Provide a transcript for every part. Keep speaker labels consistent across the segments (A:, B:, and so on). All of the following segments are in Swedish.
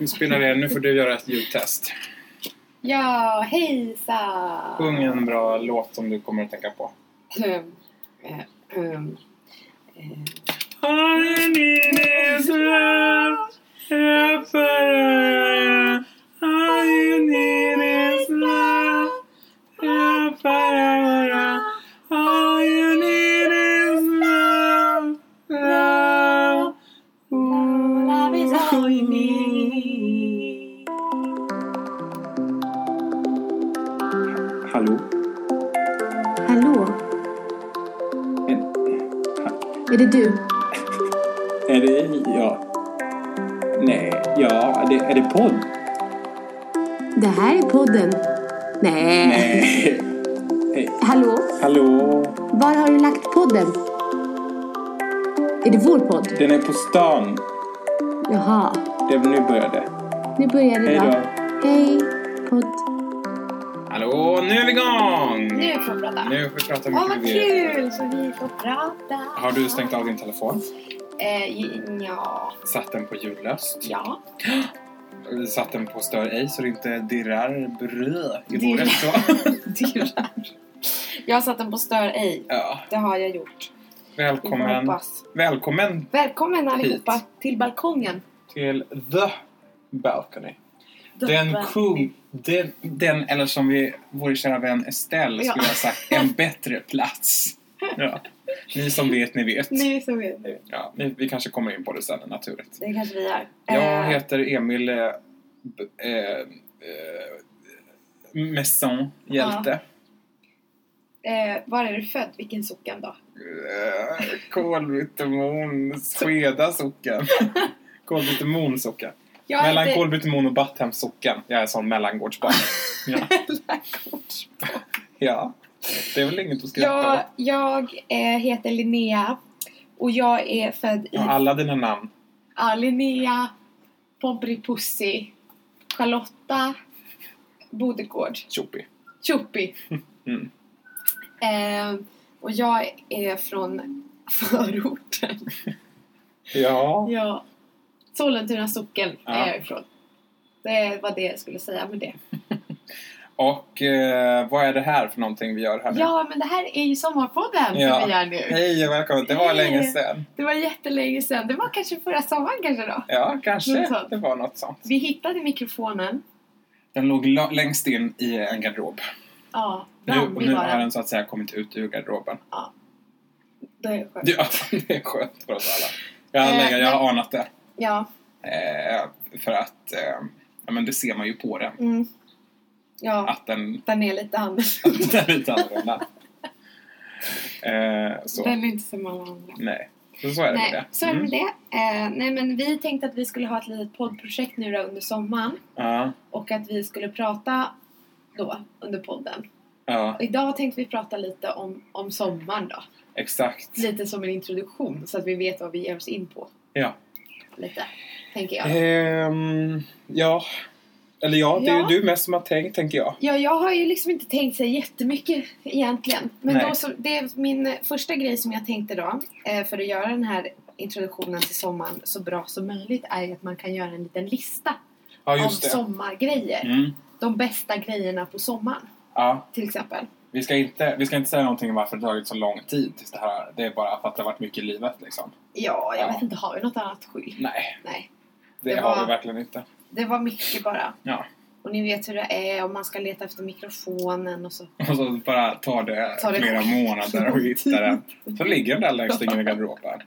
A: Nu spelar vi, nu får du göra ett ljudtest.
B: Ja, hejsa!
A: Sjung en bra låt som du kommer att tänka på.
B: Ehm, eh, ehm, eh,
A: I need is love, helper. All you need is love,
B: ehm.
A: helper. All you need is love, love.
B: Love is all you need.
A: Hallå?
C: Hallå, är det du?
A: Är det... Ja. Nej. Ja, det, är det podd?
C: Det här är podden. Nej.
A: Nej.
C: Hallå,
A: Hallå?
C: var har du lagt podden? Är det vår podd?
A: Den är på stan.
C: Jaha,
A: Det, nu börjar det.
C: nu börjar det
A: Hej då.
C: Hej, podd.
A: Hallå, nu är vi igång!
B: Nu får vi prata.
A: Nu får vi prata
B: Åh,
A: mycket
B: vad kul! Så vi får prata.
A: Har du stängt av din telefon?
B: Eh, ja.
A: Satt den på ljudlöst?
B: Ja.
A: Satt den på stör ej så det inte dirrar brö i
B: Dirrar.
A: bordet? Så.
B: Dyrar. Jag har satt den på stör ej.
A: Ja.
B: Det har jag gjort. Vi får
A: Välkommen,
B: hoppas.
A: välkommen
B: Välkommen allihopa till balkongen.
A: till The Balcony. Den
B: Dörren.
A: kung... Den, den, eller som vi, vår kära vän Estelle
B: Ja.
A: skulle ha sagt, en bättre plats. Ja. Ni som vet, ni vet.
B: Nu så vet du.
A: Ja, vi, vi kanske kommer in på det sen, naturligt.
B: Det kanske vi gör.
A: Jag
B: Eh,
A: heter Emil eh, B- eh, eh, Messon Hjälte.
B: eh, var är du född? Vilken socken då?
A: Eh, Kolbytemon, Skeda socken. Kolbytemon socken.
B: Jag
A: Mellan
B: heter-
A: Kolbytemon och Batthems socken. Jag är sån mellangårdsbarn. ja. ja, det är väl inget att skratta
B: Jag,
A: åt.
B: jag eh, heter Linnea och jag är född i
A: Ja, alla dina namn.
B: ja, Linnea, Pompripussi, Charlotta, Bodegård,
A: Tjopi.
B: Tjoppi.
A: Mm.
B: Eh, och jag är från förorten.
A: Ja.
B: Ja. Sollentuna socken
A: Ja.
B: är jag ifrån. Det var det jag skulle säga med det.
A: Och eh, vad är det här för någonting vi gör här nu?
B: Ja, men det här är ju Sommarpodden
A: Ja.
B: som vi gör nu.
A: Hej och välkommen. Det var
B: Hej.
A: länge sedan.
B: Det var jättelänge sedan. Det var kanske förra sommaren kanske då.
A: Ja, kanske.
B: Något sånt.
A: Det var något sånt.
B: Vi hittade mikrofonen.
A: Den låg la- längst in i en garderob.
B: Ja,
A: Nu, och
B: brandig
A: nu
B: var
A: har
B: den.
A: den så att säga kommit ut ur garderoben.
B: Det är skönt.
A: Ja, det är skönt för oss alla. Jag har,
B: Eh,
A: länge, jag har anat det.
B: Ja.
A: Eh, för att, eh, ja men det ser man ju på den.
B: Mm. Ja,
A: Att den,
B: den är lite annorlunda.
A: att den är lite annorlunda. Eh, så,
B: Den är inte som alla andra.
A: nej. Så, så är det med
B: Nej,
A: det. Mm.
B: så är det med det. Eh, nej, men vi tänkte att vi skulle ha ett litet poddprojekt nu då under sommaren.
A: Mm. Ja,
B: Och att vi skulle prata då under podden.
A: ja,
B: Och idag tänkte vi prata lite om, om sommaren då.
A: exakt.
B: Lite som en introduktion så att vi vet vad vi ger oss in på.
A: Ja. Eh,
B: Lite, tänker jag.
A: Ehm, ja. Eller ja, det är ju
B: Ja.
A: du mest som har tänkt, tänker jag.
B: Ja, jag har ju liksom inte tänkt så jättemycket egentligen. Men
A: Nej.
B: då så, det är min eh, första grej som jag tänkte då, eh, för att göra den här introduktionen till sommaren så bra som möjligt, är ju att man kan göra en liten lista
A: Ja,
B: av
A: just det.
B: sommargrejer.
A: Mm.
B: De bästa grejerna på sommaren,
A: Ja.
B: till exempel.
A: Vi ska, inte, vi ska inte säga någonting om varför det tagit så lång tid. tills Det, här. det är bara för att det har varit mycket i livet. Liksom.
B: Ja, jag
A: Ja.
B: vet inte, har vi något annat skydd?
A: Nej,
B: Nej.
A: det,
B: Det
A: har
B: var-
A: vi verkligen inte.
B: Det var mycket bara.
A: Ja.
B: Och ni vet hur det är, om man ska leta efter mikrofonen och så.
A: Och så bara tar det,
B: Tar det-
A: flera månader att hitta den. Så ligger den där längst in i garderoben.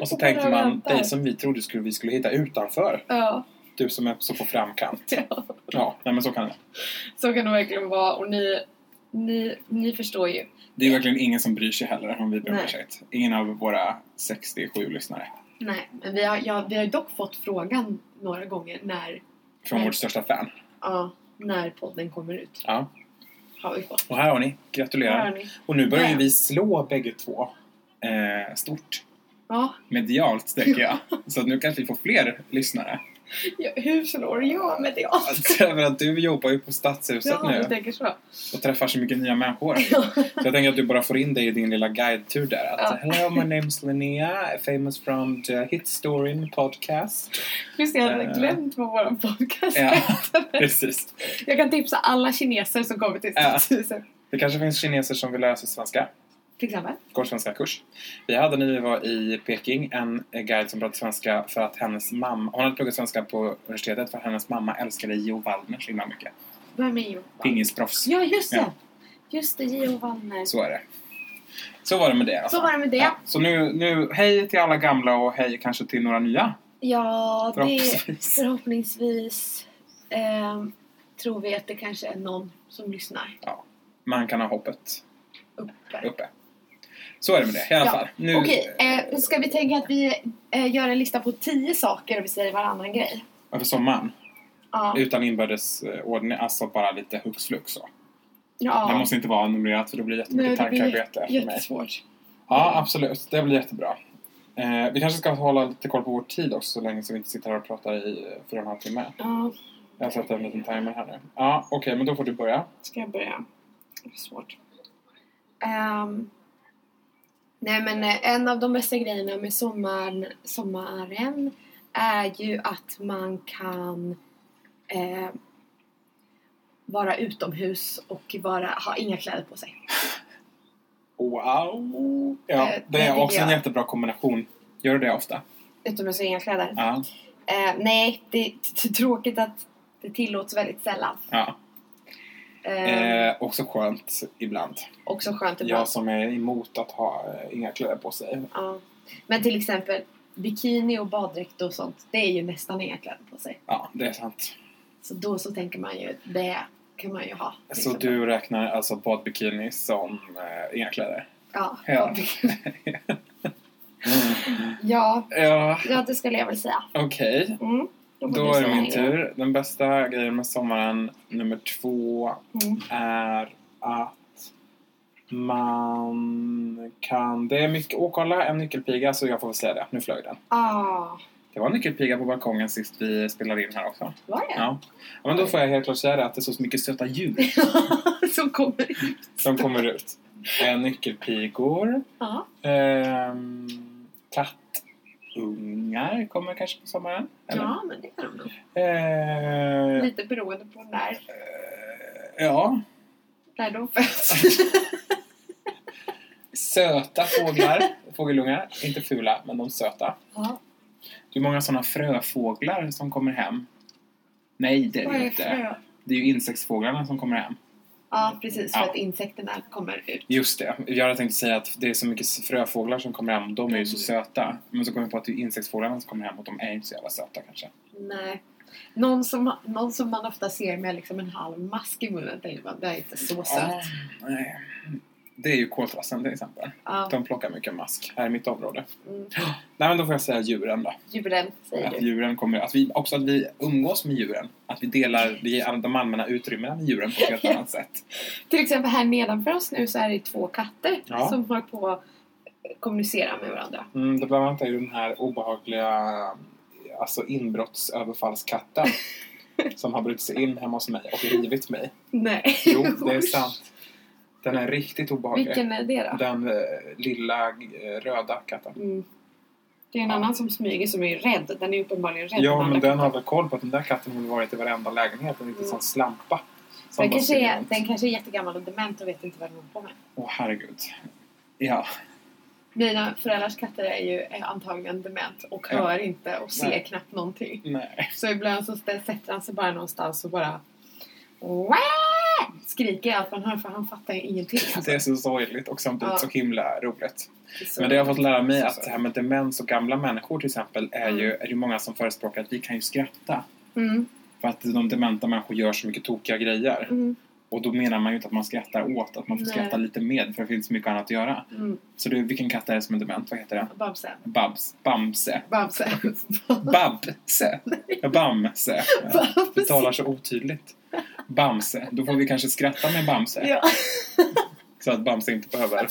A: Och så
B: Och bara
A: tänker man,
B: väntar.
A: dig som vi trodde skulle, vi skulle hitta utanför.
B: Ja.
A: Du som är så på framkant. Ja, nej men så kan det.
B: Så kan det verkligen vara. Och ni, ni, ni förstår ju.
A: Det är verkligen ingen som bryr sig heller om vi ber om
B: Nej.
A: ursäkt. Ingen av våra 67 lyssnare.
B: Nej, men vi har, ja, vi har dock fått frågan några gånger när,
A: Från
B: Nej.
A: vårt största fan.
B: ja, när podden kommer ut.
A: Ja.
B: Har vi fått.
A: Och här har ni. Gratulerar.
B: Hör ni?
A: Och nu börjar ju
B: Ja.
A: vi slå bägge två eh, stort.
B: Ja,
A: medialt, tänker jag. Så att nu kanske vi får fler lyssnare.
B: Ja, hur förlorar jag med det?
A: Alltså, jag menar, du jobbar ju på Stadshuset
B: Ja, du
A: nu
B: tänker så.
A: och träffar så mycket nya människor. Så jag tänker att du bara får in det i din lilla guidetur där. Att, Hello, my name's Linnea, famous from the hit storyn podcast.
B: Just det, jag hade
A: Eh.
B: glömt vad vår podcast
A: Ja.
B: heter.
A: Precis.
B: Jag kan tipsa alla kineser som kommer till
A: Ja.
B: Stadshuset.
A: Det kanske finns kineser som vill lära sig svenska.
B: Till exempel.
A: Går svenska kurs. Vi hade när vi var i Peking en guide som pratade svenska för att hennes mamma, hon hade pluggat svenska på universitetet för att hennes mamma älskade Jo Waldner så himla mycket.
B: Vem är Johan?
A: Pingisproffs.
B: Ja, just det.
A: Ja.
B: Just det, Johan. Så,
A: Så är det. Så var det med det. Alltså.
B: var det med det.
A: Ja,
B: Ja,
A: så nu, nu, hej till alla gamla och hej kanske till några nya.
B: det
A: Förhoppningsvis.
B: förhoppningsvis ehm, tror vi att det kanske är någon som lyssnar
A: Man kan ha hoppet
B: uppe.
A: uppe. Så är det med det i alla
B: Ja,
A: fall. Nu,
B: Okej, eh, ska vi tänka att vi eh, gör en lista på tio saker och vi säger varannan grej?
A: Över eh, sommaren.
B: Ja.
A: Utan inbördes eh, ordning. Alltså bara lite hux flux så. Det
B: ja.
A: måste inte vara numrerat för det blir jättemycket
B: Nej, det blir
A: tankarbete för mig.
B: jättesvårt.
A: Ja, absolut. Det blir jättebra. Eh, vi kanske ska hålla lite koll på vår tid också så länge som vi inte sitter här och pratar i eh, fyra och en halv timme.
B: Ja,
A: Jag sätter en liten timer här nu. Ja, okej, men då får du börja.
B: ska jag börja? Det är svårt. Ehm, nej men eh, en av de bästa grejerna med sommaren, sommaren är ju att man kan eh, vara utomhus och vara, ha inga kläder på sig.
A: Wow! Ja,
B: Eh,
A: det
B: det
A: är också en
B: tycker jag.
A: jättebra kombination. Gör du det ofta?
B: Utomhus och inga kläder.
A: Ja.
B: Eh, nej, det är t- tråkigt att det tillåts väldigt sällan.
A: ja.
B: Eh,
A: Eh, också skönt ibland.
B: också skönt ibland.
A: Jag som är emot att ha eh, inga kläder på sig.
B: Ja. Men till exempel bikini och baddräkt och sånt, det är ju nästan inga kläder på sig.
A: Ja, det är sant.
B: Så då så tänker man ju, det kan man ju ha. Liksom. till
A: Så
B: exempel.
A: du räknar alltså badbikini som eh, inga kläder?
B: Ja,
A: Ja.
B: ja. ja,
A: Ja,
B: ja, det skulle jag väl säga.
A: okej.
B: Mm.
A: Då
B: får du
A: är det
B: säga
A: min
B: en
A: tur. Den bästa grejen med sommaren nummer två
B: grej. Mm.
A: är att man kan... Det är mycket... Åh, kolla! En nyckelpiga. Så jag får väl säga det. Nu flög den.
B: Ah,
A: Det var en nyckelpiga på balkongen sist vi spelade in här också.
B: var det?
A: Ja. ja men då får jag helt klart säga det att det är så mycket söta djur
B: Som kommer ut.
A: som kommer ut. Eh, nyckelpigor.
B: Ja.
A: Ehm, kattungar kommer kanske på sommaren. Eller?
B: ja, men det är de nog.
A: Eh,
B: Lite beroende på när,
A: eh, ja.
B: när de föds.
A: Söta fåglar, fågelungar. Inte fula, men de söta.
B: ja.
A: Det är många sådana fröfåglar som kommer hem. Nej, det är
B: Vad
A: det
B: är
A: inte.
B: frö?
A: Det är ju insektsfåglarna som kommer hem.
B: Ja, precis. För
A: Ja.
B: att insekterna kommer ut.
A: Just det. Jag tänkte säga att det är så mycket fröfåglar som kommer hem. De är ju så
B: Mm.
A: söta. Men så kom jag på att det är insektsfåglarna som kommer hem och de är inte så jävla söta kanske.
B: Nej. Någon som, någon som man ofta ser med liksom en halv mask i munnen tänker man, det är inte så
A: Ja,
B: söt.
A: nej. Det är ju koltrasten till exempel.
B: Ja.
A: De plockar mycket mask här i mitt område.
B: Mm.
A: Nej men då får jag säga djuren då.
B: Djuren, säger
A: Att
B: du.
A: djuren kommer, att vi, också att vi umgås med djuren. Att vi delar vi, de allmänna utrymmena med djuren på ett helt annat sätt.
B: Till exempel här nedanför oss nu så är det två katter
A: Ja.
B: som håller på att kommunicera med varandra.
A: Mm, det bland annat är ju den här obehagliga alltså inbrottsöverfallskatten som har brutit sig in hemma hos mig och rivit mig.
B: Nej.
A: Jo, det är sant. Den är riktigt obehaglig.
B: Vilken är det då?
A: Den eh, lilla eh, röda katten.
B: Mm. Det är en annan som smyger som är rädd. Den är uppenbarligen rädd.
A: Ja,
B: för
A: men
B: andra
A: den har väl koll på att den där katten har varit i varenda lägenhet. Den är inte
B: Mm.
A: sån slampa. som
B: den,
A: bara
B: kanske
A: springer
B: är,
A: runt.
B: den kanske är jättegammal och dement och vet inte vad den håller på med.
A: Åh, herregud. Ja.
B: Mina föräldrars katter är ju är antagligen dement och
A: Ja.
B: hör inte och ser
A: Nej.
B: knappt någonting.
A: Nej.
B: Så ibland så stä- sätter han sig bara någonstans och bara "Wah!" skriker allt man hör för han fattar ju ingenting. Alltså.
A: Det är så sorgligt och samtidigt
B: Ja.
A: så himla roligt.
B: Så-
A: Men det jag har fått lära mig
B: så-
A: att det här med demens och gamla människor till exempel är
B: Mm.
A: ju, är ju många som förespråkar att vi kan ju skratta.
B: Mm,
A: För att de dementa människor gör så mycket tokiga grejer.
B: mm,
A: Och då menar man ju inte att man skrattar åt, att man får
B: Nej.
A: skratta lite med för det finns så mycket annat att göra.
B: mm.
A: Så du, vilken katt är det som är dement? Vad heter den?
B: Bamse.
A: Babs? Bamse?
B: Bamse.
A: Babse? Ja, Bamse. Ja. Du talar så otydligt. Bamse. Då får vi kanske skratta med Bamse.
B: Ja.
A: Så att Bamse inte behöver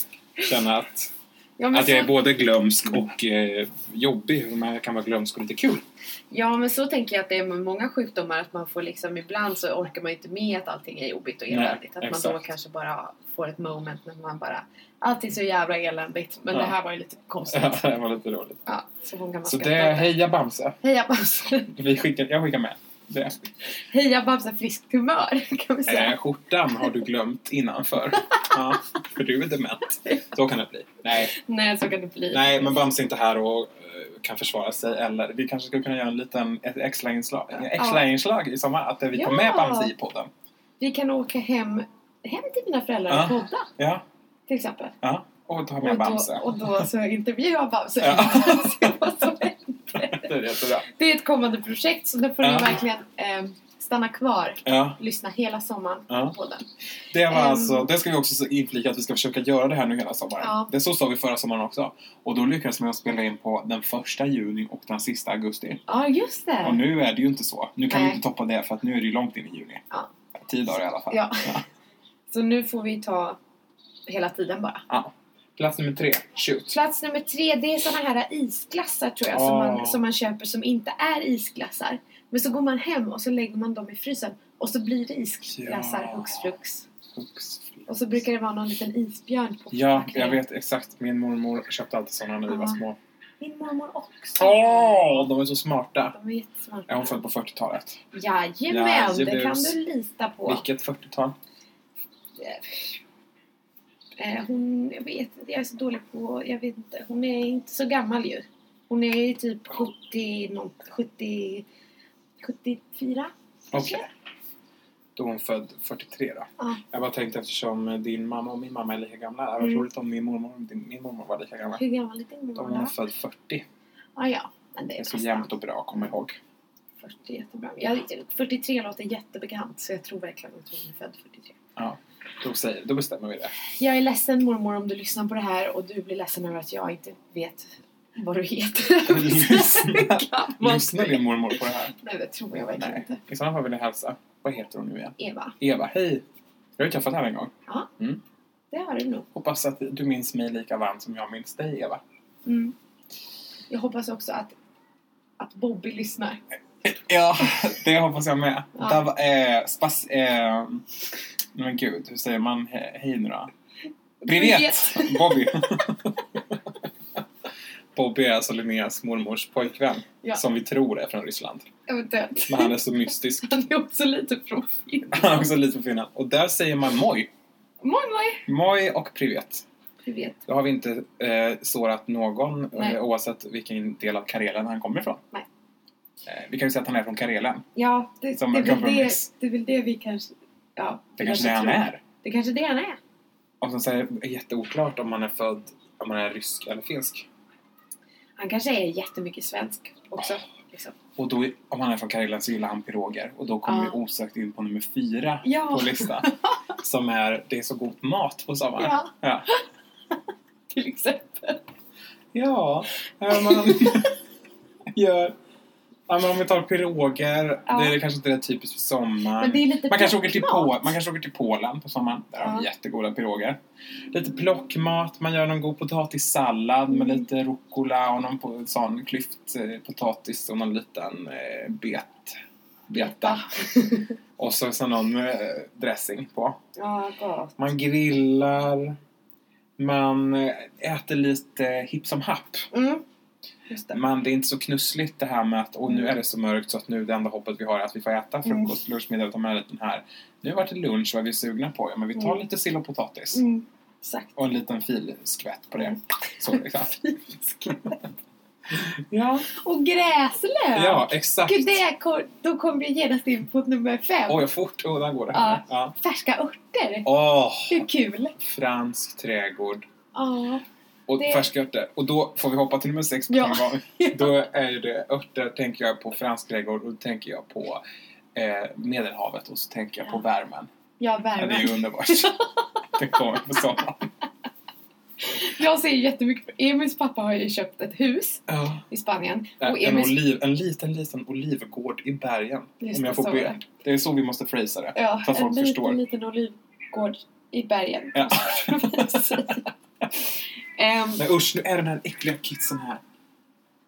A: känna att
B: Ja, men
A: Att jag är
B: så-
A: både glömsk och eh, jobbig. Men jag kan vara glömsk och lite kul.
B: Ja, men så tänker jag att det är med många sjukdomar att man får liksom ibland så orkar man inte med att allting är jobbigt och
A: Nej,
B: eländigt. Att man då
A: exakt.
B: kanske bara får ett moment när man bara allting är så jävla eländigt men
A: Ja.
B: det här var ju lite konstigt.
A: Ja, det var lite roligt.
B: Ja, så hon kan man
A: Så
B: skratta
A: det,
B: åt det.
A: heja Bamse.
B: Heja Bamse!
A: Vi skickar, jag skickar med. Det.
B: Heja Bamse friskt humör kan vi säga.
A: Eh, skjortan har du glömt innanför. Ja, för du är dement. Så kan det bli. Nej,
B: Nej, så kan det bli.
A: nej men Bamse är inte här och eh, kan försvara sig. Eller vi kanske skulle kunna göra en liten, ett extra inslag, extra inslag i sommar. Att vi tar
B: Ja.
A: med Bamse i podden.
B: Vi kan åka hem, hem till mina föräldrar
A: Ja.
B: och podda
A: Ja,
B: till exempel.
A: ja. Och ta med
B: Och då,
A: Bamse.
B: och då så intervjuar Bamse.
A: Ja.
B: Se vad som händer.
A: Det är jättebra.
B: Det är ett kommande projekt så nu får ni
A: Ja.
B: verkligen eh, stanna kvar.
A: Ja,
B: Lyssna hela sommaren
A: ja.
B: på den.
A: Det, var
B: Ehm.
A: alltså, det ska vi också inflika att vi ska försöka göra det här nu hela sommaren.
B: Ja.
A: Det så sa vi förra sommaren också. Och då lyckades man spela in på den första juni och den sista augusti.
B: Ja, just det.
A: Och nu är det ju inte så. Nu kan vi
B: Nej.
A: inte toppa det för att nu är det ju långt in i juni.
B: Ja.
A: Tio dagar i alla fall.
B: Ja. Så nu får vi ta hela tiden bara.
A: Ja. Plats nummer tre, shoot.
B: Plats nummer tre, det är såna här isglassar tror jag som,
A: Ja.
B: man, som man köper som inte är isglassar. Men så går man hem och så lägger man dem i frysen och så blir det isglassar
A: Ja.
B: hux flux. Och så brukar det vara någon liten isbjörn på
A: Ja,
B: förpackningen.
A: jag vet exakt. Min mormor köpte alltid sådana när vi var
B: Ja.
A: små.
B: Min mormor också.
A: Åh, de är så smarta!
B: De är jättesmarta.
A: Är hon född på 40-talet?
B: Jajamän, det kan
A: Jajebus.
B: du lita på.
A: Vilket 40-tal?
B: Eh, hon, jag vet inte, jag är så dålig på, jag vet inte, hon är inte så gammal ju. Hon är ju typ 70, någon, 70, 74.
A: Okej. Då är hon född 43 då.
B: Ja.
A: Jag bara tänkte eftersom din mamma och min mamma är lika gamla. Det hade varit
B: Mm.
A: roligt om min mormor och din, min mormor var lika gamla.
B: Hur gammal är din
A: De är
B: mamma?
A: född 40.
B: Ja, ja. Men det
A: Det
B: är
A: är så
B: nästan
A: jämnt och bra, kom ihåg.
B: 40, jättebra. Jag, 43 låter jättebekant så jag tror verkligen att hon är född 43.
A: Ja. Då, säger, då bestämmer vi det.
B: Jag är ledsen mormor om du lyssnar på det här och du blir ledsen över att jag inte vet vad du heter.
A: Lyssna-
B: Hur gammal
A: Lyssnar
B: du är.
A: din mormor på det här?
B: Nej, det tror jag verkligen
A: Nej.
B: inte.
A: I sådana fall vill jag hälsa. Vad heter hon nu igen?
B: Eva,
A: Eva, hej! Jag har ju träffat henne en gång.
B: det har du nog.
A: Hoppas att du minns mig lika varmt som jag minns dig, Eva.
B: Mm. Jag hoppas också att, att Bobby lyssnar.
A: Ja, det hoppas jag med.
B: Ja.
A: Där var, eh, spas, eh, men gud, hur säger man he, hej nu då? Privet! Bobby! Bobby är alltså Linneas mormors pojkvän.
B: Ja.
A: Som vi tror är från Ryssland.
B: Eventuellt.
A: Men han är så mystisk.
B: Han är också lite från
A: Han är
B: Finland.
A: också lite på Finland. Och där säger man moj.
B: Moj moj!
A: Moj och privet.
B: Privet.
A: Då har vi inte eh, sårat någon
B: Nej.
A: eh, oavsett vilken del av Karelen han kommer ifrån.
B: Nej.
A: Eh, vi kan ju säga att han är från Karelen.
B: Ja, det, det,
A: Som
B: är
A: en
B: väl det,
A: kompromiss.
B: det är väl det vi kanske... Ja,
A: Det
B: vi
A: kanske är det han
B: tror.
A: är.
B: Det är kanske det han är.
A: Och sen så är det jätteoklart om han är född, om han är rysk eller finsk.
B: Han kanske är jättemycket svensk också. Liksom.
A: Och då, om han är från Karelen så gillar han piroger. Och då kommer
B: Ja.
A: vi osökt in på nummer fyra
B: Ja.
A: på listan. Som är, det är så god mat på sommaren.
B: Ja,
A: Ja.
B: till exempel.
A: Ja, här man gör... Ja, men om vi tar piroger,
B: Ja.
A: det är kanske inte det typiskt för sommaren.
B: Men det är lite
A: man, kanske åker till
B: plockmat.
A: Pol- man kanske åker till Polen på sommaren. Där har de
B: Ja.
A: jättegoda piroger. Lite plockmat, man gör någon god potatissallad med
B: Mm.
A: lite rucola och någon po- sån klyftpotatis och någon liten eh, bet. Beta. Och så, så någon eh, dressing på.
B: Ja, gott.
A: Man grillar. Man eh, äter lite hipp som happ.
B: Mm. Just det.
A: Men det är inte så knussligt det här med att och
B: Mm.
A: nu är det så mörkt så att nu det enda hoppet vi har är att vi får äta frukost, lunch, middag utan med den här. Nu vart det lunch, vad är vi sugna på? Ja men vi tar
B: Mm.
A: lite sill och potatis.
B: Mm. Exakt.
A: Och en liten filskvätt på det. Så exakt. ja.
B: Och gräslök!
A: ja, exakt.
B: Gud, det är, kor- då kommer jag genast in på nummer fem.
A: Oj, vad fort oh, där går det.
B: Ja.
A: Ja.
B: Färska örter!
A: Åh,
B: Hur kul!
A: fransk trädgård.
B: Ja.
A: Och
B: Det-
A: färska örter. Och då får vi hoppa till nummer sex på
B: Ja.
A: en gång. Då är ju det örter, tänker jag på fransk trädgård och då tänker jag på eh, Medelhavet och så tänker jag på
B: Ja.
A: värmen.
B: Ja,
A: Ja, det
B: värmen.
A: är ju underbart. det kommer på sommaren.
B: Jag ser ju jättemycket på... Emils pappa har ju köpt ett hus
A: Ja.
B: i Spanien. Och
A: En,
B: Emils...
A: oliv, en liten, liten olivgård i bergen.
B: Just
A: om
B: det,
A: jag får
B: så var
A: be.
B: det.
A: Det är så vi måste phrasa det.
B: Ja,
A: så att
B: en
A: folk förstår.
B: liten, liten olivgård i bergen.
A: Ja.
B: Precis. Ehm,
A: Men usch, nu är den här äckliga kidsen här.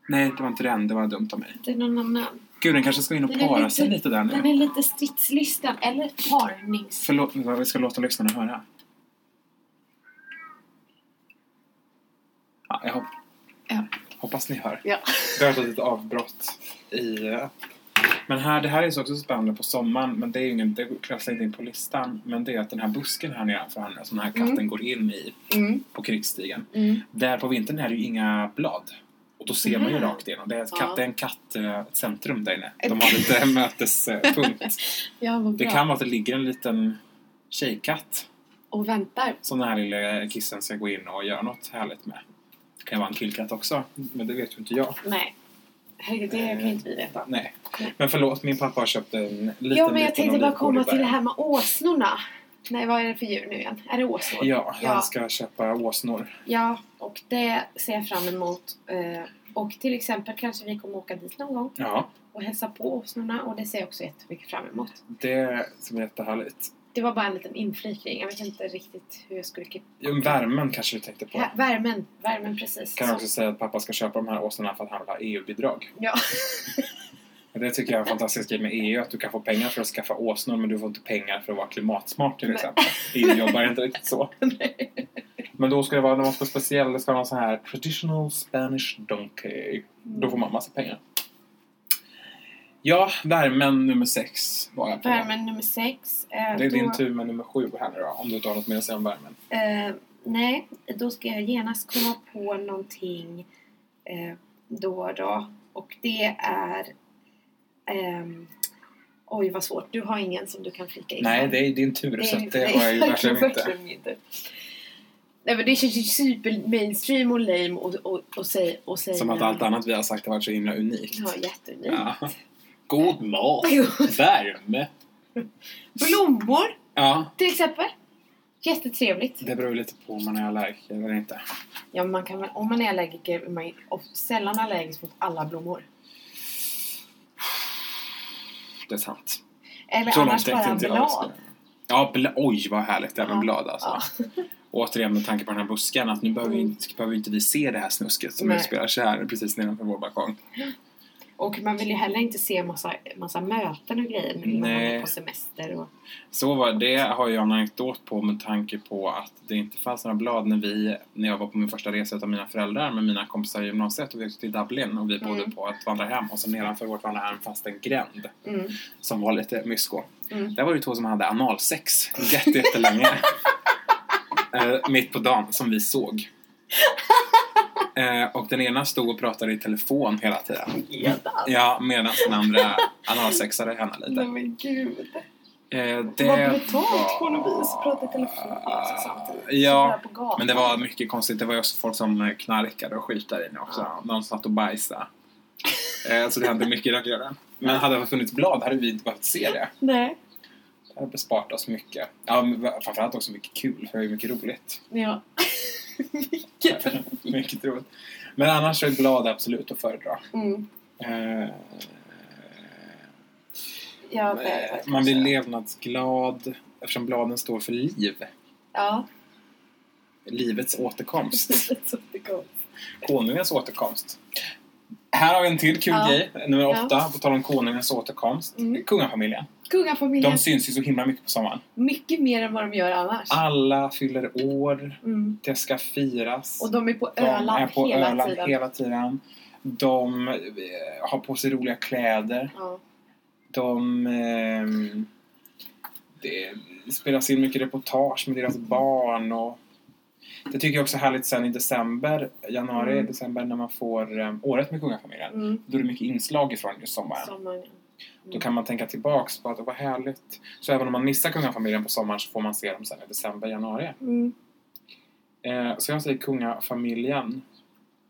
A: Nej, det var inte den. Det var dumt av mig.
B: det är någon annan.
A: Gud, den kanske ska in och
B: Den är
A: para
B: lite-
A: sig lite där
B: Den
A: nu.
B: är lite stridslysten, eller parnings...
A: Förlåt, men vad vi ska låta lyssnarna höra. Ja, jag hop-
B: Ja.
A: hoppas ni hör.
B: Ja.
A: Det har varit ett litet avbrott i... eh, Men här, det här är så också spännande på sommaren, men det är ju ingen, det klassar inte in på listan. Men det är att den här busken här nedanför henne, som den här katten
B: Mm.
A: går in i
B: Mm.
A: på krigsstigen.
B: Mm.
A: Där på vintern är det ju inga blad. Och då ser man ju
B: Mhm.
A: rakt igenom. Det är ett,
B: Ja.
A: katt, det är en kattcentrum där inne. De har lite mötespunkt.
B: Ja, vad
A: Det
B: bra.
A: kan vara att det ligger en liten tjejkatt
B: Och väntar.
A: som den här lilla kissen ska gå in och göra något härligt med. Det kan ju vara en killkatt också, men det vet ju inte jag.
B: Nej. Herregud, det kan
A: Eh,
B: inte vi veta.
A: Nej. Men förlåt, min pappa har köpt en liten,
B: Mm. Ja, men
A: liten
B: jag tänkte bara
A: olivgård
B: komma
A: i
B: till det
A: bergen.
B: här med åsnorna. Nej, vad är det för djur nu igen? Är det åsnor?
A: Ja,
B: Ja.
A: han ska köpa åsnor.
B: Ja, och det ser jag fram emot. Eh, Och till exempel kanske vi kommer åka dit någon gång
A: Ja,
B: och hälsa på åsnorna och det ser jag också jättemycket fram emot.
A: det som är jättehärligt.
B: Det var bara en liten inflikning. Jag vet inte riktigt hur jag skulle... kip-
A: Jo, Värmen kanske du tänkte på.
B: Ja, Värmen, värmen precis.
A: Kan jag
B: Som-
A: också säga att pappa ska köpa de här åsnorna för att han vill ha EU-bidrag.
B: Ja.
A: Men Det tycker jag är en fantastisk grej med EU, att du kan få pengar för att skaffa åsnor men du får inte pengar för att vara klimatsmart till
B: Nej.
A: exempel. EU jobbar inte riktigt så. Men då ska det vara något speciellt, det ska vara någon sån här traditional Spanish donkey. Då får man massa pengar. Ja, värmen nummer sex var jag på.
B: Värmen nummer sex. eh,
A: Det är din
B: då-
A: tur med nummer sju här nu då, om du inte har något mer att säga om värmen.
B: Eh, nej, då ska jag genast komma på någonting eh, då och då. Och det är... ehm, oj, vad svårt. Du har ingen som du kan flika in.
A: Nej, det är din tur så att det
B: nej,
A: var jag ju verkligen inte.
B: verkligen inte. Nej, men det känns ju super mainstream och lame och, och, och, säg, och säga...
A: Som att allt annat vi har sagt har varit så himla unikt.
B: Ja, jätteunikt.
A: Ja. God mat. Värme.
B: Blommor,
A: Ja.
B: till exempel. Jättetrevligt.
A: Det beror ju lite på om man är allergiker eller inte.
B: Ja, men man kan väl, om man är allergiker är man ju of- sällan allergisk mot alla blommor.
A: Det är sant.
B: Eller
A: Så långt
B: annars
A: tänkte
B: bara
A: inte jag.
B: blad.
A: Ja, bla, oj vad härligt det här med
B: Ja.
A: blad alltså. Återigen med tanke på den här busken att nu behöver, vi,
B: Mm.
A: inte- behöver inte vi se det här snusket som
B: Nej.
A: utspelar sig här precis nedanför vår balkong.
B: Och man vill ju heller inte se massa, massa möten och grejer nu när man
A: Nej.
B: är på semester. Och,
A: Så var det har jag en anekdot på med tanke på att det inte fanns några blad när vi, när jag var på min första resa utav mina föräldrar med mina kompisar i gymnasiet och vi åkte till Dublin och vi
B: Mm.
A: bodde på ett vandrarhem och så nedanför vårt vandrarhem fanns det en gränd
B: mm,
A: som var lite mysko.
B: mm.
A: Där var det två som hade analsex jätte, jättelänge. Eh, mitt på dagen, som vi såg. Eh, och den ena stod och pratade i telefon hela tiden. Ja, medan den andra analsexade henne lite.
B: alltså. Nej men gud.
A: Eh,
B: Mm. Det var brutalt
A: var-
B: på något vis. Prata i telefon också samtidigt.
A: Ja,
B: Så där på gatan.
A: men det var mycket konstigt. Det var ju också folk som knarkade och skitade i det också.
B: Ja.
A: Någon satt och bajsade. Eh, så det hände mycket i den delen. Men hade det funnits blad hade vi inte behövt se det.
B: Nej.
A: Det hade besparat oss mycket. Ja, men framförallt också mycket kul, för det är mycket roligt.
B: Ja. Vilket...
A: mycket roligt. Men annars så är blad absolut att föredra.
B: Mm.
A: Eh,
B: Ja, det är det
A: eh,
B: kanske.
A: man blir levnadsglad eftersom bladen står för liv.
B: Ja.
A: Livets återkomst.
B: Det är så det går.
A: Konungens återkomst. Här har vi en till kul
B: Ja.
A: grej, nummer
B: Ja.
A: åtta, på tal om konungens återkomst.
B: Mm.
A: Kungafamiljen.
B: Kungafamiljen.
A: De syns ju så himla mycket på sommaren.
B: Mycket mer än vad de gör annars.
A: Alla fyller år,
B: Mm.
A: det ska firas.
B: Och de är på
A: De
B: Öland
A: är på
B: hela
A: Öland
B: tiden.
A: hela tiden. De eh, har på sig roliga kläder.
B: Ja.
A: De... ehm, det spelas in mycket reportage med deras barn och... Det tycker jag också är härligt sen i december, januari,
B: Mm.
A: december när man får eh, året med kungafamiljen.
B: Mm.
A: Då är det mycket inslag ifrån just sommaren.
B: Sommaren. Mm.
A: Då kan man tänka tillbaks på att det var härligt. Så även om man missar kungafamiljen på sommaren så får man se dem sen i december, januari.
B: Mm.
A: Eh, så jag säger kungafamiljen.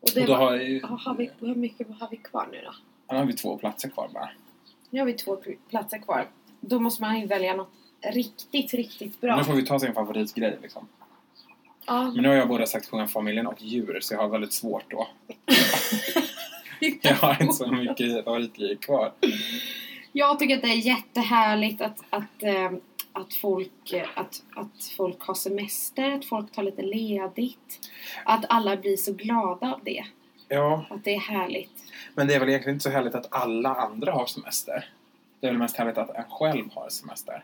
B: Och det
A: Och då
B: var...
A: har, ju-
B: Ja, har vi, hur mycket har vi kvar nu då?
A: nu har vi två platser kvar bara.
B: Nu har vi två pl- platser kvar. Då måste man ju välja något riktigt, riktigt bra.
A: Nu får vi ta sin favoritgrej liksom.
B: Ja,
A: Men nu har jag både sagt kungafamiljen och djur så jag har väldigt svårt då. Jag har inte så mycket favoritgrejer kvar.
B: Jag tycker att det är jättehärligt att, att eh, att folk, eh, att, att folk har semester, att folk tar lite ledigt. Att alla blir så glada av det.
A: Ja,
B: Att det är härligt.
A: men det är väl egentligen inte så härligt att alla andra har semester. Det är väl mest härligt att en själv har semester.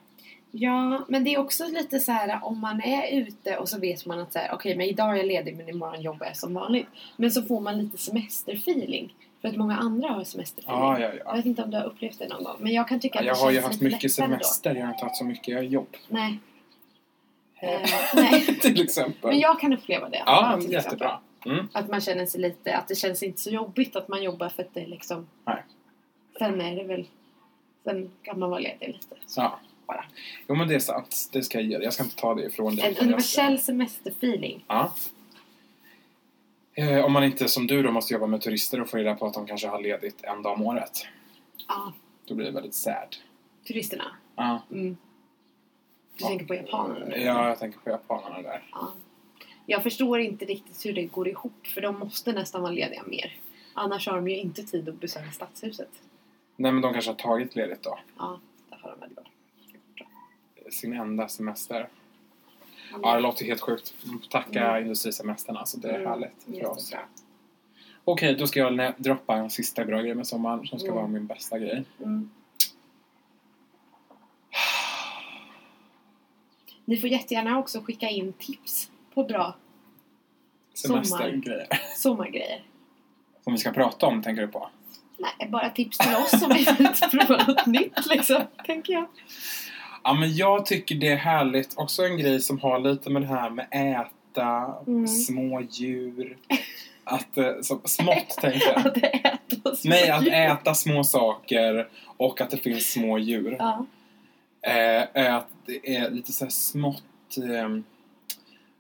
B: Ja, men det är också lite så här om man är ute och så vet man att så här, okej, men idag är jag ledig men imorgon jobbar jag som vanligt. Men så får man lite semesterfeeling. För att många andra har semesterfeeling.
A: Ah, Ja, ja,
B: Jag
A: ja.
B: vet inte om du har upplevt det någon gång. Men jag kan tycka att
A: Jag
B: det
A: har ju
B: känns
A: haft
B: lite
A: mycket
B: lättare då.
A: semester, jag har inte haft så mycket, jag har jobb.
B: Nej. Eh, nej.
A: Till exempel.
B: Men jag kan uppleva det.
A: Ja,
B: till exempel.
A: jättebra. Mm.
B: Att man känner sig lite, att det känns inte så jobbigt att man jobbar för att det är liksom...
A: Nej.
B: Sen är det väl... Sen kan man vara ledig lite. Så.
A: Ja.
B: Bara.
A: Jo men det är sant, det ska jag ge dig. Jag ska inte ta det ifrån dig.
B: En universell semesterfeeling.
A: Ja. Eh, om man inte som du då måste jobba med turister och få reda på att de kanske har ledigt en dag om året.
B: Ja,
A: Då blir det väldigt sad.
B: turisterna.
A: Ja.
B: Mm. Du tänker på japanerna? nu?
A: Ja, jag tänker på japanerna där.
B: Ja. Jag förstår inte riktigt hur det går ihop för de måste nästan vara lediga mer. Annars har de ju inte tid att besöka stadshuset.
A: Nej men de kanske har tagit ledigt då.
B: Ja, det har de väl gjort.
A: Sin enda semester. Ja, det låter helt sjukt. Tacka
B: Mm.
A: industrisemestern alltså. Det är
B: Mm,
A: härligt för
B: jättebra.
A: oss. Okej, då ska jag nä- droppa en sista bra grej med sommaren som ska
B: Mm.
A: vara min bästa grej.
B: Mm. Ni får jättegärna också skicka in tips på bra Sommar.
A: Semestergrejer.
B: sommargrejer.
A: Som vi ska prata om, tänker du på?
B: Nej, bara tips till oss om vi vill prova något nytt liksom, tänker jag.
A: Ja, men jag tycker det är härligt. Också en grej som har lite med det här med äta,
B: Mm.
A: små djur. Att, eh, som, smått, tänker jag.
B: Att äta oss.
A: Nej, alltså, att äta små saker och att det finns små djur.
B: Ja.
A: Eh, är att det är lite så här smått, eh,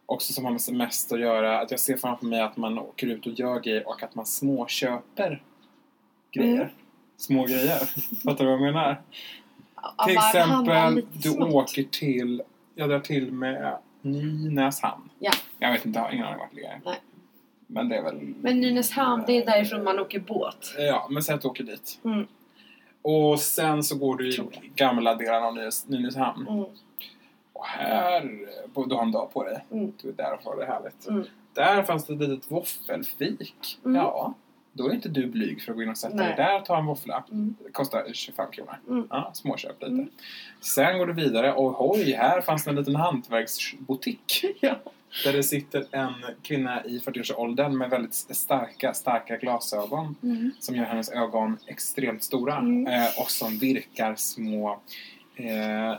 A: också som har med semester att göra. Att jag ser framför mig att man åker ut och gör grejer och att man småköper grejer.
B: Mm.
A: Små grejer. Fattar du vad jag menar?
B: Ja,
A: Till
B: bara handla
A: exempel,
B: lite
A: du
B: smått.
A: åker till, jag drar till med Nynäshamn.
B: Ja.
A: Jag vet inte, jag har ingen aning vart det ligger.
B: Nej.
A: Men det är väl...
B: Men Nynäshamn, det är därifrån man åker båt.
A: Ja, men säg att du åker dit.
B: Mm.
A: Och sen så går du i
B: Tror
A: gamla delarna av Nynäs- Nynäshamn.
B: Mm.
A: Och här, bo- du har en dag på dig.
B: Mm.
A: Du är där och har det härligt.
B: Mm.
A: Där fanns det ett litet våffelfik.
B: Mm.
A: Ja, då är inte du blyg för att gå in och sätta
B: Nej.
A: dig där och ta en våffla.
B: Mm.
A: Det kostar 25 kronor.
B: Mm.
A: Ja, småköp lite.
B: Mm.
A: Sen går du vidare och hoj, här fanns det en liten hantverksbutik.
B: Ja.
A: Där det sitter en kvinna i 40-årsåldern med väldigt starka, starka glasögon
B: Mm.
A: som gör hennes ögon extremt stora
B: Mm.
A: eh, och som virkar små eh,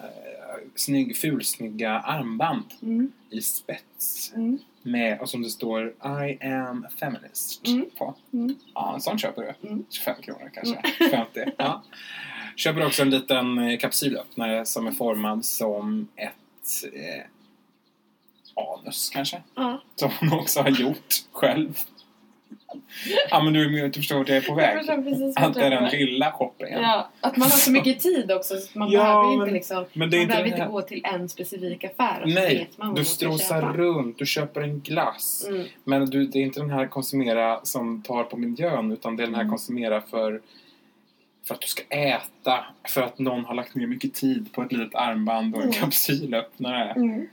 A: snygg, fulsnygga armband
B: Mm.
A: i spets
B: Mm.
A: med, och som det står I am feminist
B: Mm.
A: på.
B: Mm.
A: Ja, en sån köper du.
B: Mm.
A: 25 kronor kanske. 50. Ja. Köper också en liten eh, kapsylöppnare som är formad som ett eh, anus kanske.
B: Ja.
A: Som hon också har gjort själv. Ja men du, är med- du förstår vart jag är på
B: Jag
A: väg.
B: förstår precis vad
A: Att det
B: du
A: är den
B: menar.
A: lilla shoppingen.
B: Ja, att man har så mycket tid också så man
A: Ja,
B: behöver
A: men-
B: inte liksom
A: Men det är
B: man
A: inte
B: behöver
A: den
B: inte
A: här...
B: gå till en specifik affär och så
A: Nej,
B: vet man vad
A: du
B: man ska
A: strosar
B: köpa.
A: runt, du köper en glass.
B: Mm.
A: Men du, det är inte den här konsumera som tar på miljön utan det är den här
B: Mm.
A: konsumera för, för att du ska äta. För att någon har lagt ner mycket tid på ett litet armband och en
B: Mm.
A: kapsylöppnare.
B: Mm.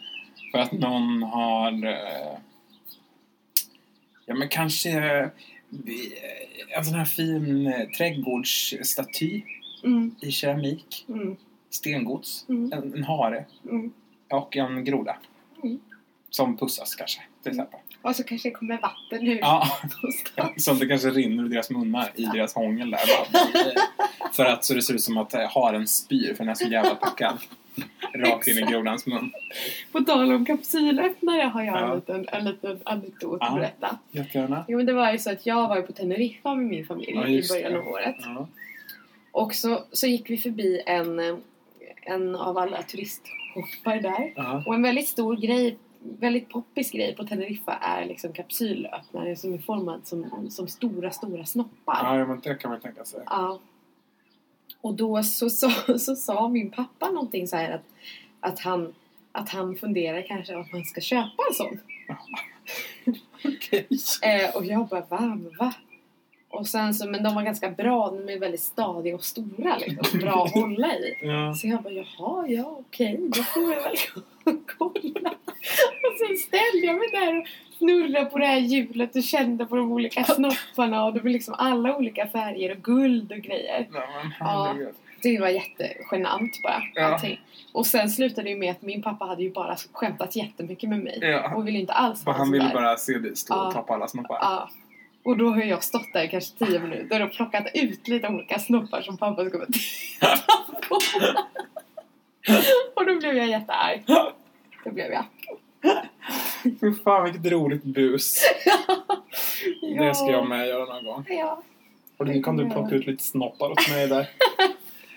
A: För att någon har... eh, Ja men kanske eh, en sån här fin eh, trädgårdsstaty
B: Mm.
A: i keramik.
B: Mm.
A: Stengods.
B: Mm.
A: En, en hare.
B: Mm.
A: Och en groda.
B: Mm.
A: Som pussas kanske, till exempel.
B: Och så kanske det kommer vatten ur
A: Ja,
B: någonstans.
A: som det kanske rinner ur deras munnar i deras hångel där. Bara- För att så det ser ut som att eh, haren spyr för den är så jävla packad. Rakt in i grodans mun.
B: På tal om kapsylöppnare har jag
A: Ja.
B: en liten, en liten anekdot
A: Ja.
B: att berätta.
A: Jättegärna.
B: Jo men det var ju så att jag var ju på Teneriffa med min familj
A: Ja,
B: i
A: just
B: början
A: det.
B: av året.
A: Ja.
B: Och så, så gick vi förbi en, eh, en av alla turistshoppar där.
A: Ja.
B: Och en väldigt stor grej, väldigt poppis grej på Teneriffa är liksom kapsylöppnare som är formad som, som stora, stora snoppar.
A: ja, men det kan man tänka sig.
B: Ja. Och då så, så, så sa min pappa någonting så här att, att, han, att han funderar kanske om man ska köpa en sån.
A: Okej.
B: Eh, och jag bara, va? Men va? Och sen så, men de var ganska bra, de är väldigt stadiga och stora liksom. Bra att hålla i.
A: Ja.
B: Så jag bara, jaha, ja okej, då får jag väl kolla. Och sen ställde jag mig där och snurrade på det här hjulet och kände på de olika snopparna och det var liksom alla olika färger och guld och grejer.
A: Nej, men
B: Ja.
A: herregud.
B: Det var jättegenant bara,
A: Ja.
B: allting. Och sen slutade det ju med att min pappa hade ju bara skämtat jättemycket med mig
A: Ja.
B: och ville inte alls
A: Och
B: ha
A: han
B: det
A: ville
B: sådär.
A: bara se dig stå
B: Ja.
A: och tappa alla snoppar.
B: Ja. Och då har jag stått där i kanske tio minuter och plockat ut lite olika snoppar som pappa ska vara titta på. Och då blev jag jättearg. Det blev jag.
A: Fy fan vilket roligt bus.
B: Ja.
A: Det ska jag med göra någon gång.
B: Ja.
A: Och nu kan du plocka ut lite snoppar åt mig där.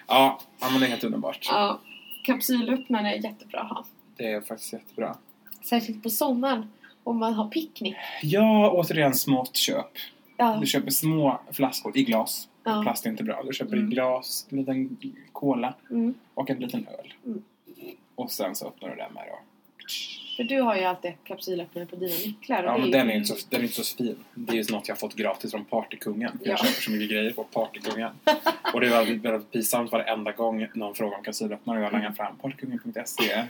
A: ja, ja, men det är helt underbart.
B: ja. Kapsylöppnare är jättebra att ha.
A: Det är faktiskt jättebra.
B: Särskilt på sommaren om man har picknick.
A: Ja, återigen smått köp.
B: Ja.
A: Du köper små flaskor i glas.
B: Ja.
A: Plast är inte bra. Du köper
B: Mm.
A: i glas, en liten cola
B: Mm.
A: och en liten öl.
B: Mm.
A: Och sen så öppnar du den med då.
B: För du har ju alltid kapsylöppnare på dina nycklar. och
A: Ja,
B: det
A: men
B: ju-
A: den är, inte så, den är inte så fin. Det är ju något jag har fått gratis från Partykungen. Jag
B: Ja.
A: köper så mycket grejer på Partykungen. och det är väldigt, väldigt pinsamt varenda gång någon frågar om kassilöppnare och jag
B: Mm.
A: langar fram partykungen.se.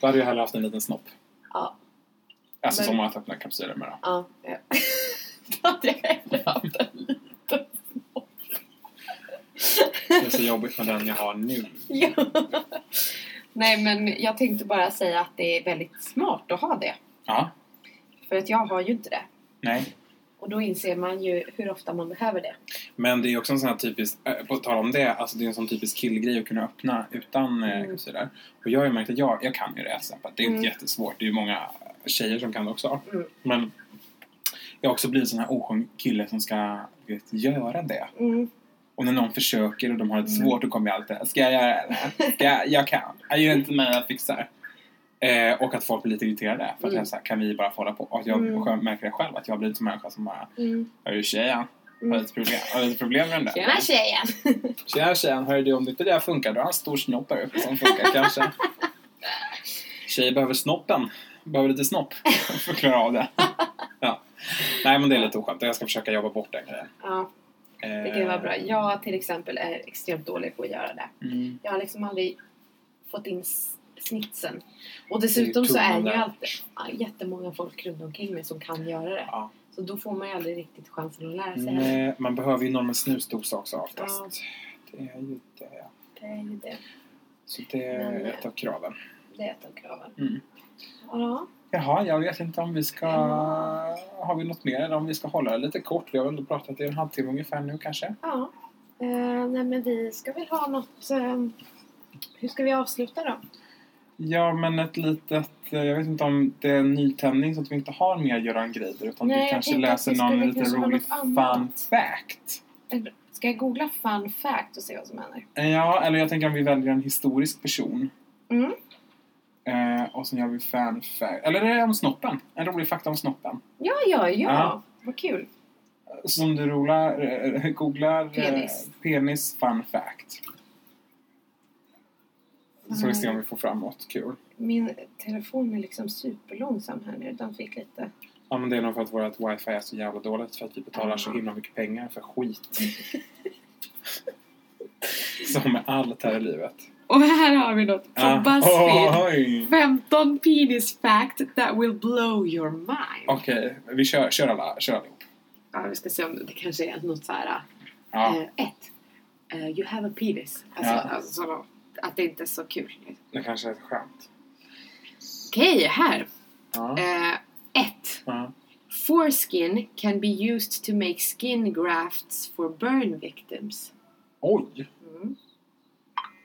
A: Då hade jag hellre haft en liten snopp.
B: Ja.
A: Alltså
B: Men-
A: som att öppna kapsyler med då.
B: Ja. ja. Då hade jag hellre haft en liten.
A: Det är så jobbigt med den jag har nu.
B: Ja. Nej men jag tänkte bara säga att det är väldigt smart att ha det.
A: Ja,
B: För att jag har ju inte det.
A: nej.
B: Och då inser man ju hur ofta man behöver det.
A: Men det är också en sån här typisk, eh, på tal om det, alltså det är en sån typisk killgrej att kunna öppna utan eh,
B: Mm.
A: kapsyler. Och jag har ju märkt att jag, jag kan ju det S-appet. Det är
B: Mm.
A: inte jättesvårt. Det är ju många tjejer som kan det också.
B: Mm.
A: Men jag har också blivit en sån här oskön kille som ska du vet, göra det.
B: Mm.
A: Och när någon försöker och de har det
B: Mm.
A: svårt då kommer jag alltid Ska jag göra det? här? Ska jag, jag kan. Jag gör inte mig, jag fixar. Eh, och att folk blir lite irriterade. För att
B: Mm.
A: jag så här, kan vi bara få hålla på? Och att jag
B: Mm.
A: själv- märker det själv att jag har blivit en sån människa som bara
B: Mm.
A: Hörru tjejen, har du
B: Mm.
A: ett problem, har du ett problem med den där?
B: Tjena tjejen!
A: Tjena tjejen, hörru du om det inte det här funkar då har jag en stor snopp här uppe som funkar kanske. Tjejer behöver snoppen, behöver lite snopp för att klara av det. Ja. Nej men det är lite oskönt, jag ska försöka jobba bort den grejen.
B: Ja,
A: Eh,
B: det kan ju vara bra. Jag till exempel är extremt dålig på att göra det.
A: Mm.
B: Jag har liksom aldrig fått in s- snitsen. Och dessutom så är
A: tummen
B: ju
A: där.
B: alltid ja, jättemånga folk runt omkring mig som kan göra det.
A: Ja.
B: Så då får man ju aldrig riktigt chansen att lära sig heller.
A: Nej, man behöver ju någon med snusdosa också oftast. Det är ju det.
B: Det är ju det.
A: Så det är
B: Men-
A: ett av kraven.
B: Det är ett av kraven.
A: Mm.
B: Ja.
A: Jaha, jag vet inte om vi ska... Har vi något mer eller om vi ska hålla det lite kort? Vi har väl pratat i en halvtimme ungefär nu kanske.
B: Ja. Eh, nej men vi ska väl ha något... Eh, hur ska vi avsluta då?
A: Ja, men ett litet... eh, Jag vet inte om det är en nytändning så att vi inte har mer Göran Greider utan
B: Nej,
A: du
B: jag
A: kanske
B: tänkte att
A: läser
B: vi skulle
A: någon lite
B: kanske ha
A: rolig
B: något annat.
A: fun fact.
B: Eller, Ska jag googla fun fact och se vad som händer?
A: Eh, Ja, eller jag tänker om vi väljer en historisk person.
B: Mm.
A: Eh, och sen gör vi fan fact. Eller det är om snoppen. En rolig fakta om snoppen.
B: Ja, ja, ja!
A: Ja.
B: Vad kul!
A: Som du rolar, eh, googlar... eh,
B: Penis.
A: Penis fun fact. Så vi
B: Mm.
A: ser om vi får fram något kul.
B: Min telefon är liksom superlångsam här nu. Den fick lite...
A: Ja men det är nog för att vårt wifi är så jävla dåligt för att vi betalar så himla mycket pengar för skit. Som med allt här i livet.
B: Och här har vi något
A: Ja.
B: från Buzzfeed.
A: Oj.
B: 15 penis fact that will blow your mind.
A: Okej, vi kör, kör alla, kör allihop.
B: Ja, vi ska se om det kanske är något så här...
A: Ja,
B: eh, ett. Eh, you have a penis. Alltså,
A: Ja.
B: alltså sådana- att det inte är så kul.
A: det kanske är ett skämt.
B: Okej, här.
A: Ja.
B: Eh, ett.
A: ja.
B: Foreskin can be used to make skin grafts for burn victims.
A: Oj!
B: Mm.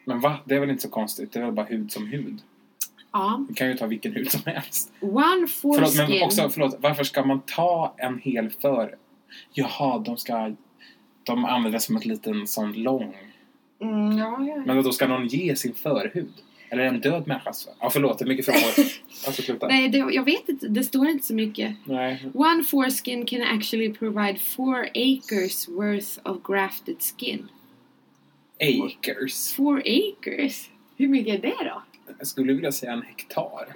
A: Men va? Det är väl inte så konstigt? Det är väl bara hud som hud?
B: Ja.
A: Du kan ju ta vilken hud som helst.
B: One
A: Förlåt,
B: foreskin...
A: men också, förlåt, varför ska man ta en hel för... Jaha, de ska... De använder det som ett liten sån lång...
B: Mm, ja, ja.
A: Men då ska någon ge sin förhud? Eller en död människas förhud? Ja, förlåt, det är mycket frågor. Alltså, sluta.
B: Nej, det, jag vet inte. Det står inte så mycket.
A: Nej.
B: One foreskin can actually provide four acres worth of grafted skin.
A: Acres.
B: Four acres? Hur mycket är det då?
A: Jag skulle vilja säga en hektar.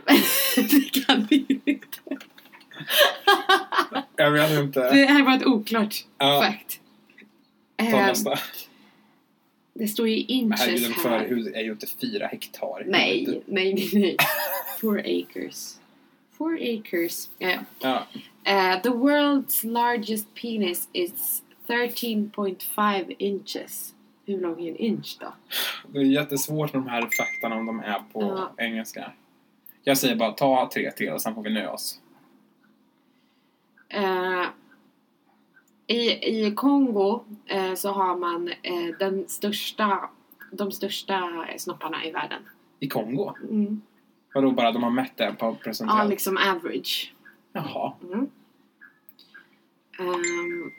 B: det kan vi ju inte.
A: Jag vet inte.
B: Det här var ett oklart
A: Ja,
B: fact.
A: ta
B: Eh,
A: nästa.
B: det står ju
A: Men här är ju
B: inches
A: en
B: här.
A: förhus är ju inte fyra hektar.
B: Nej, nej, nej, nej. Four acres. Four acres. Ja, ja.
A: Ja.
B: Eh, the world's largest penis is 13.5 inches. Hur lång är en inch då?
A: Det är jättesvårt med de här faktan om de är på
B: Ja.
A: engelska. Jag säger bara ta tre till och sen får vi nöja oss.
B: Eh, i, I Kongo eh, så har man eh, den största, de största snopparna i världen.
A: I Kongo?
B: Mm.
A: Vadå bara de har mätt det på
B: Ja,
A: presentation?
B: liksom average.
A: Jaha.
B: Mm. Ehm,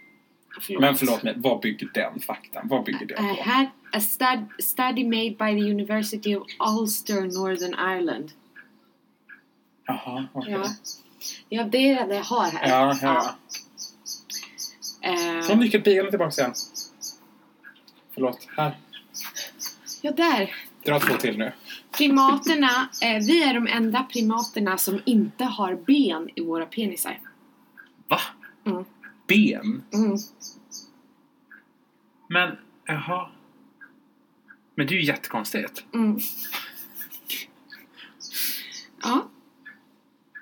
B: förlåt.
A: Men förlåt mig, vad bygger den faktan? Vad bygger det
B: I
A: på?
B: had a stud study made by the University of Ulster, Northern Ireland.
A: Jaha, okej.
B: Ja. ja, det är det jag har här.
A: Ja, ja, ja.
B: Ehm,
A: Kom lycka pigan tillbaka igen. Förlåt, här.
B: Eh, ja, där.
A: Dra två till nu.
B: Primaterna, eh, vi är de enda primaterna som inte har ben i våra penisar.
A: Va?
B: Mm.
A: Ben?
B: Mm.
A: Men, jaha. Men det är ju jättekonstigt.
B: Mm. Ja,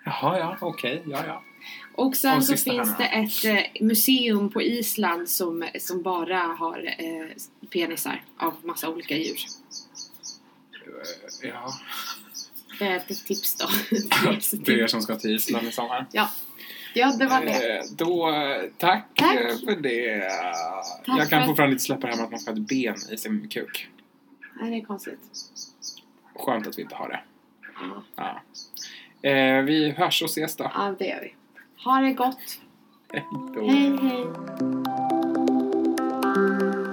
A: Jaha, ja, okej, ja, ja.
B: och sen
A: Och
B: så
A: sista
B: finns
A: här
B: det ett eh, museum på Island som, som bara har eh, penisar av massa olika djur.
A: Eh, Ja.
B: Det är ett tips då.
A: Det är er som ska till Island i sommar.
B: ja, det var det.
A: Eh, Då, eh, tack,
B: Tack.
A: eh, för det.
B: Tack
A: jag
B: för
A: kan
B: att-
A: fortfarande inte släppa det här med att man ska ha ett ben i sin kuk.
B: Nej, det är konstigt.
A: Skönt att vi inte har det.
B: Ja,
A: Ja. Eh, vi hörs och ses då.
B: ja det gör vi. Ha det gott.
A: då.
B: Hej, hej.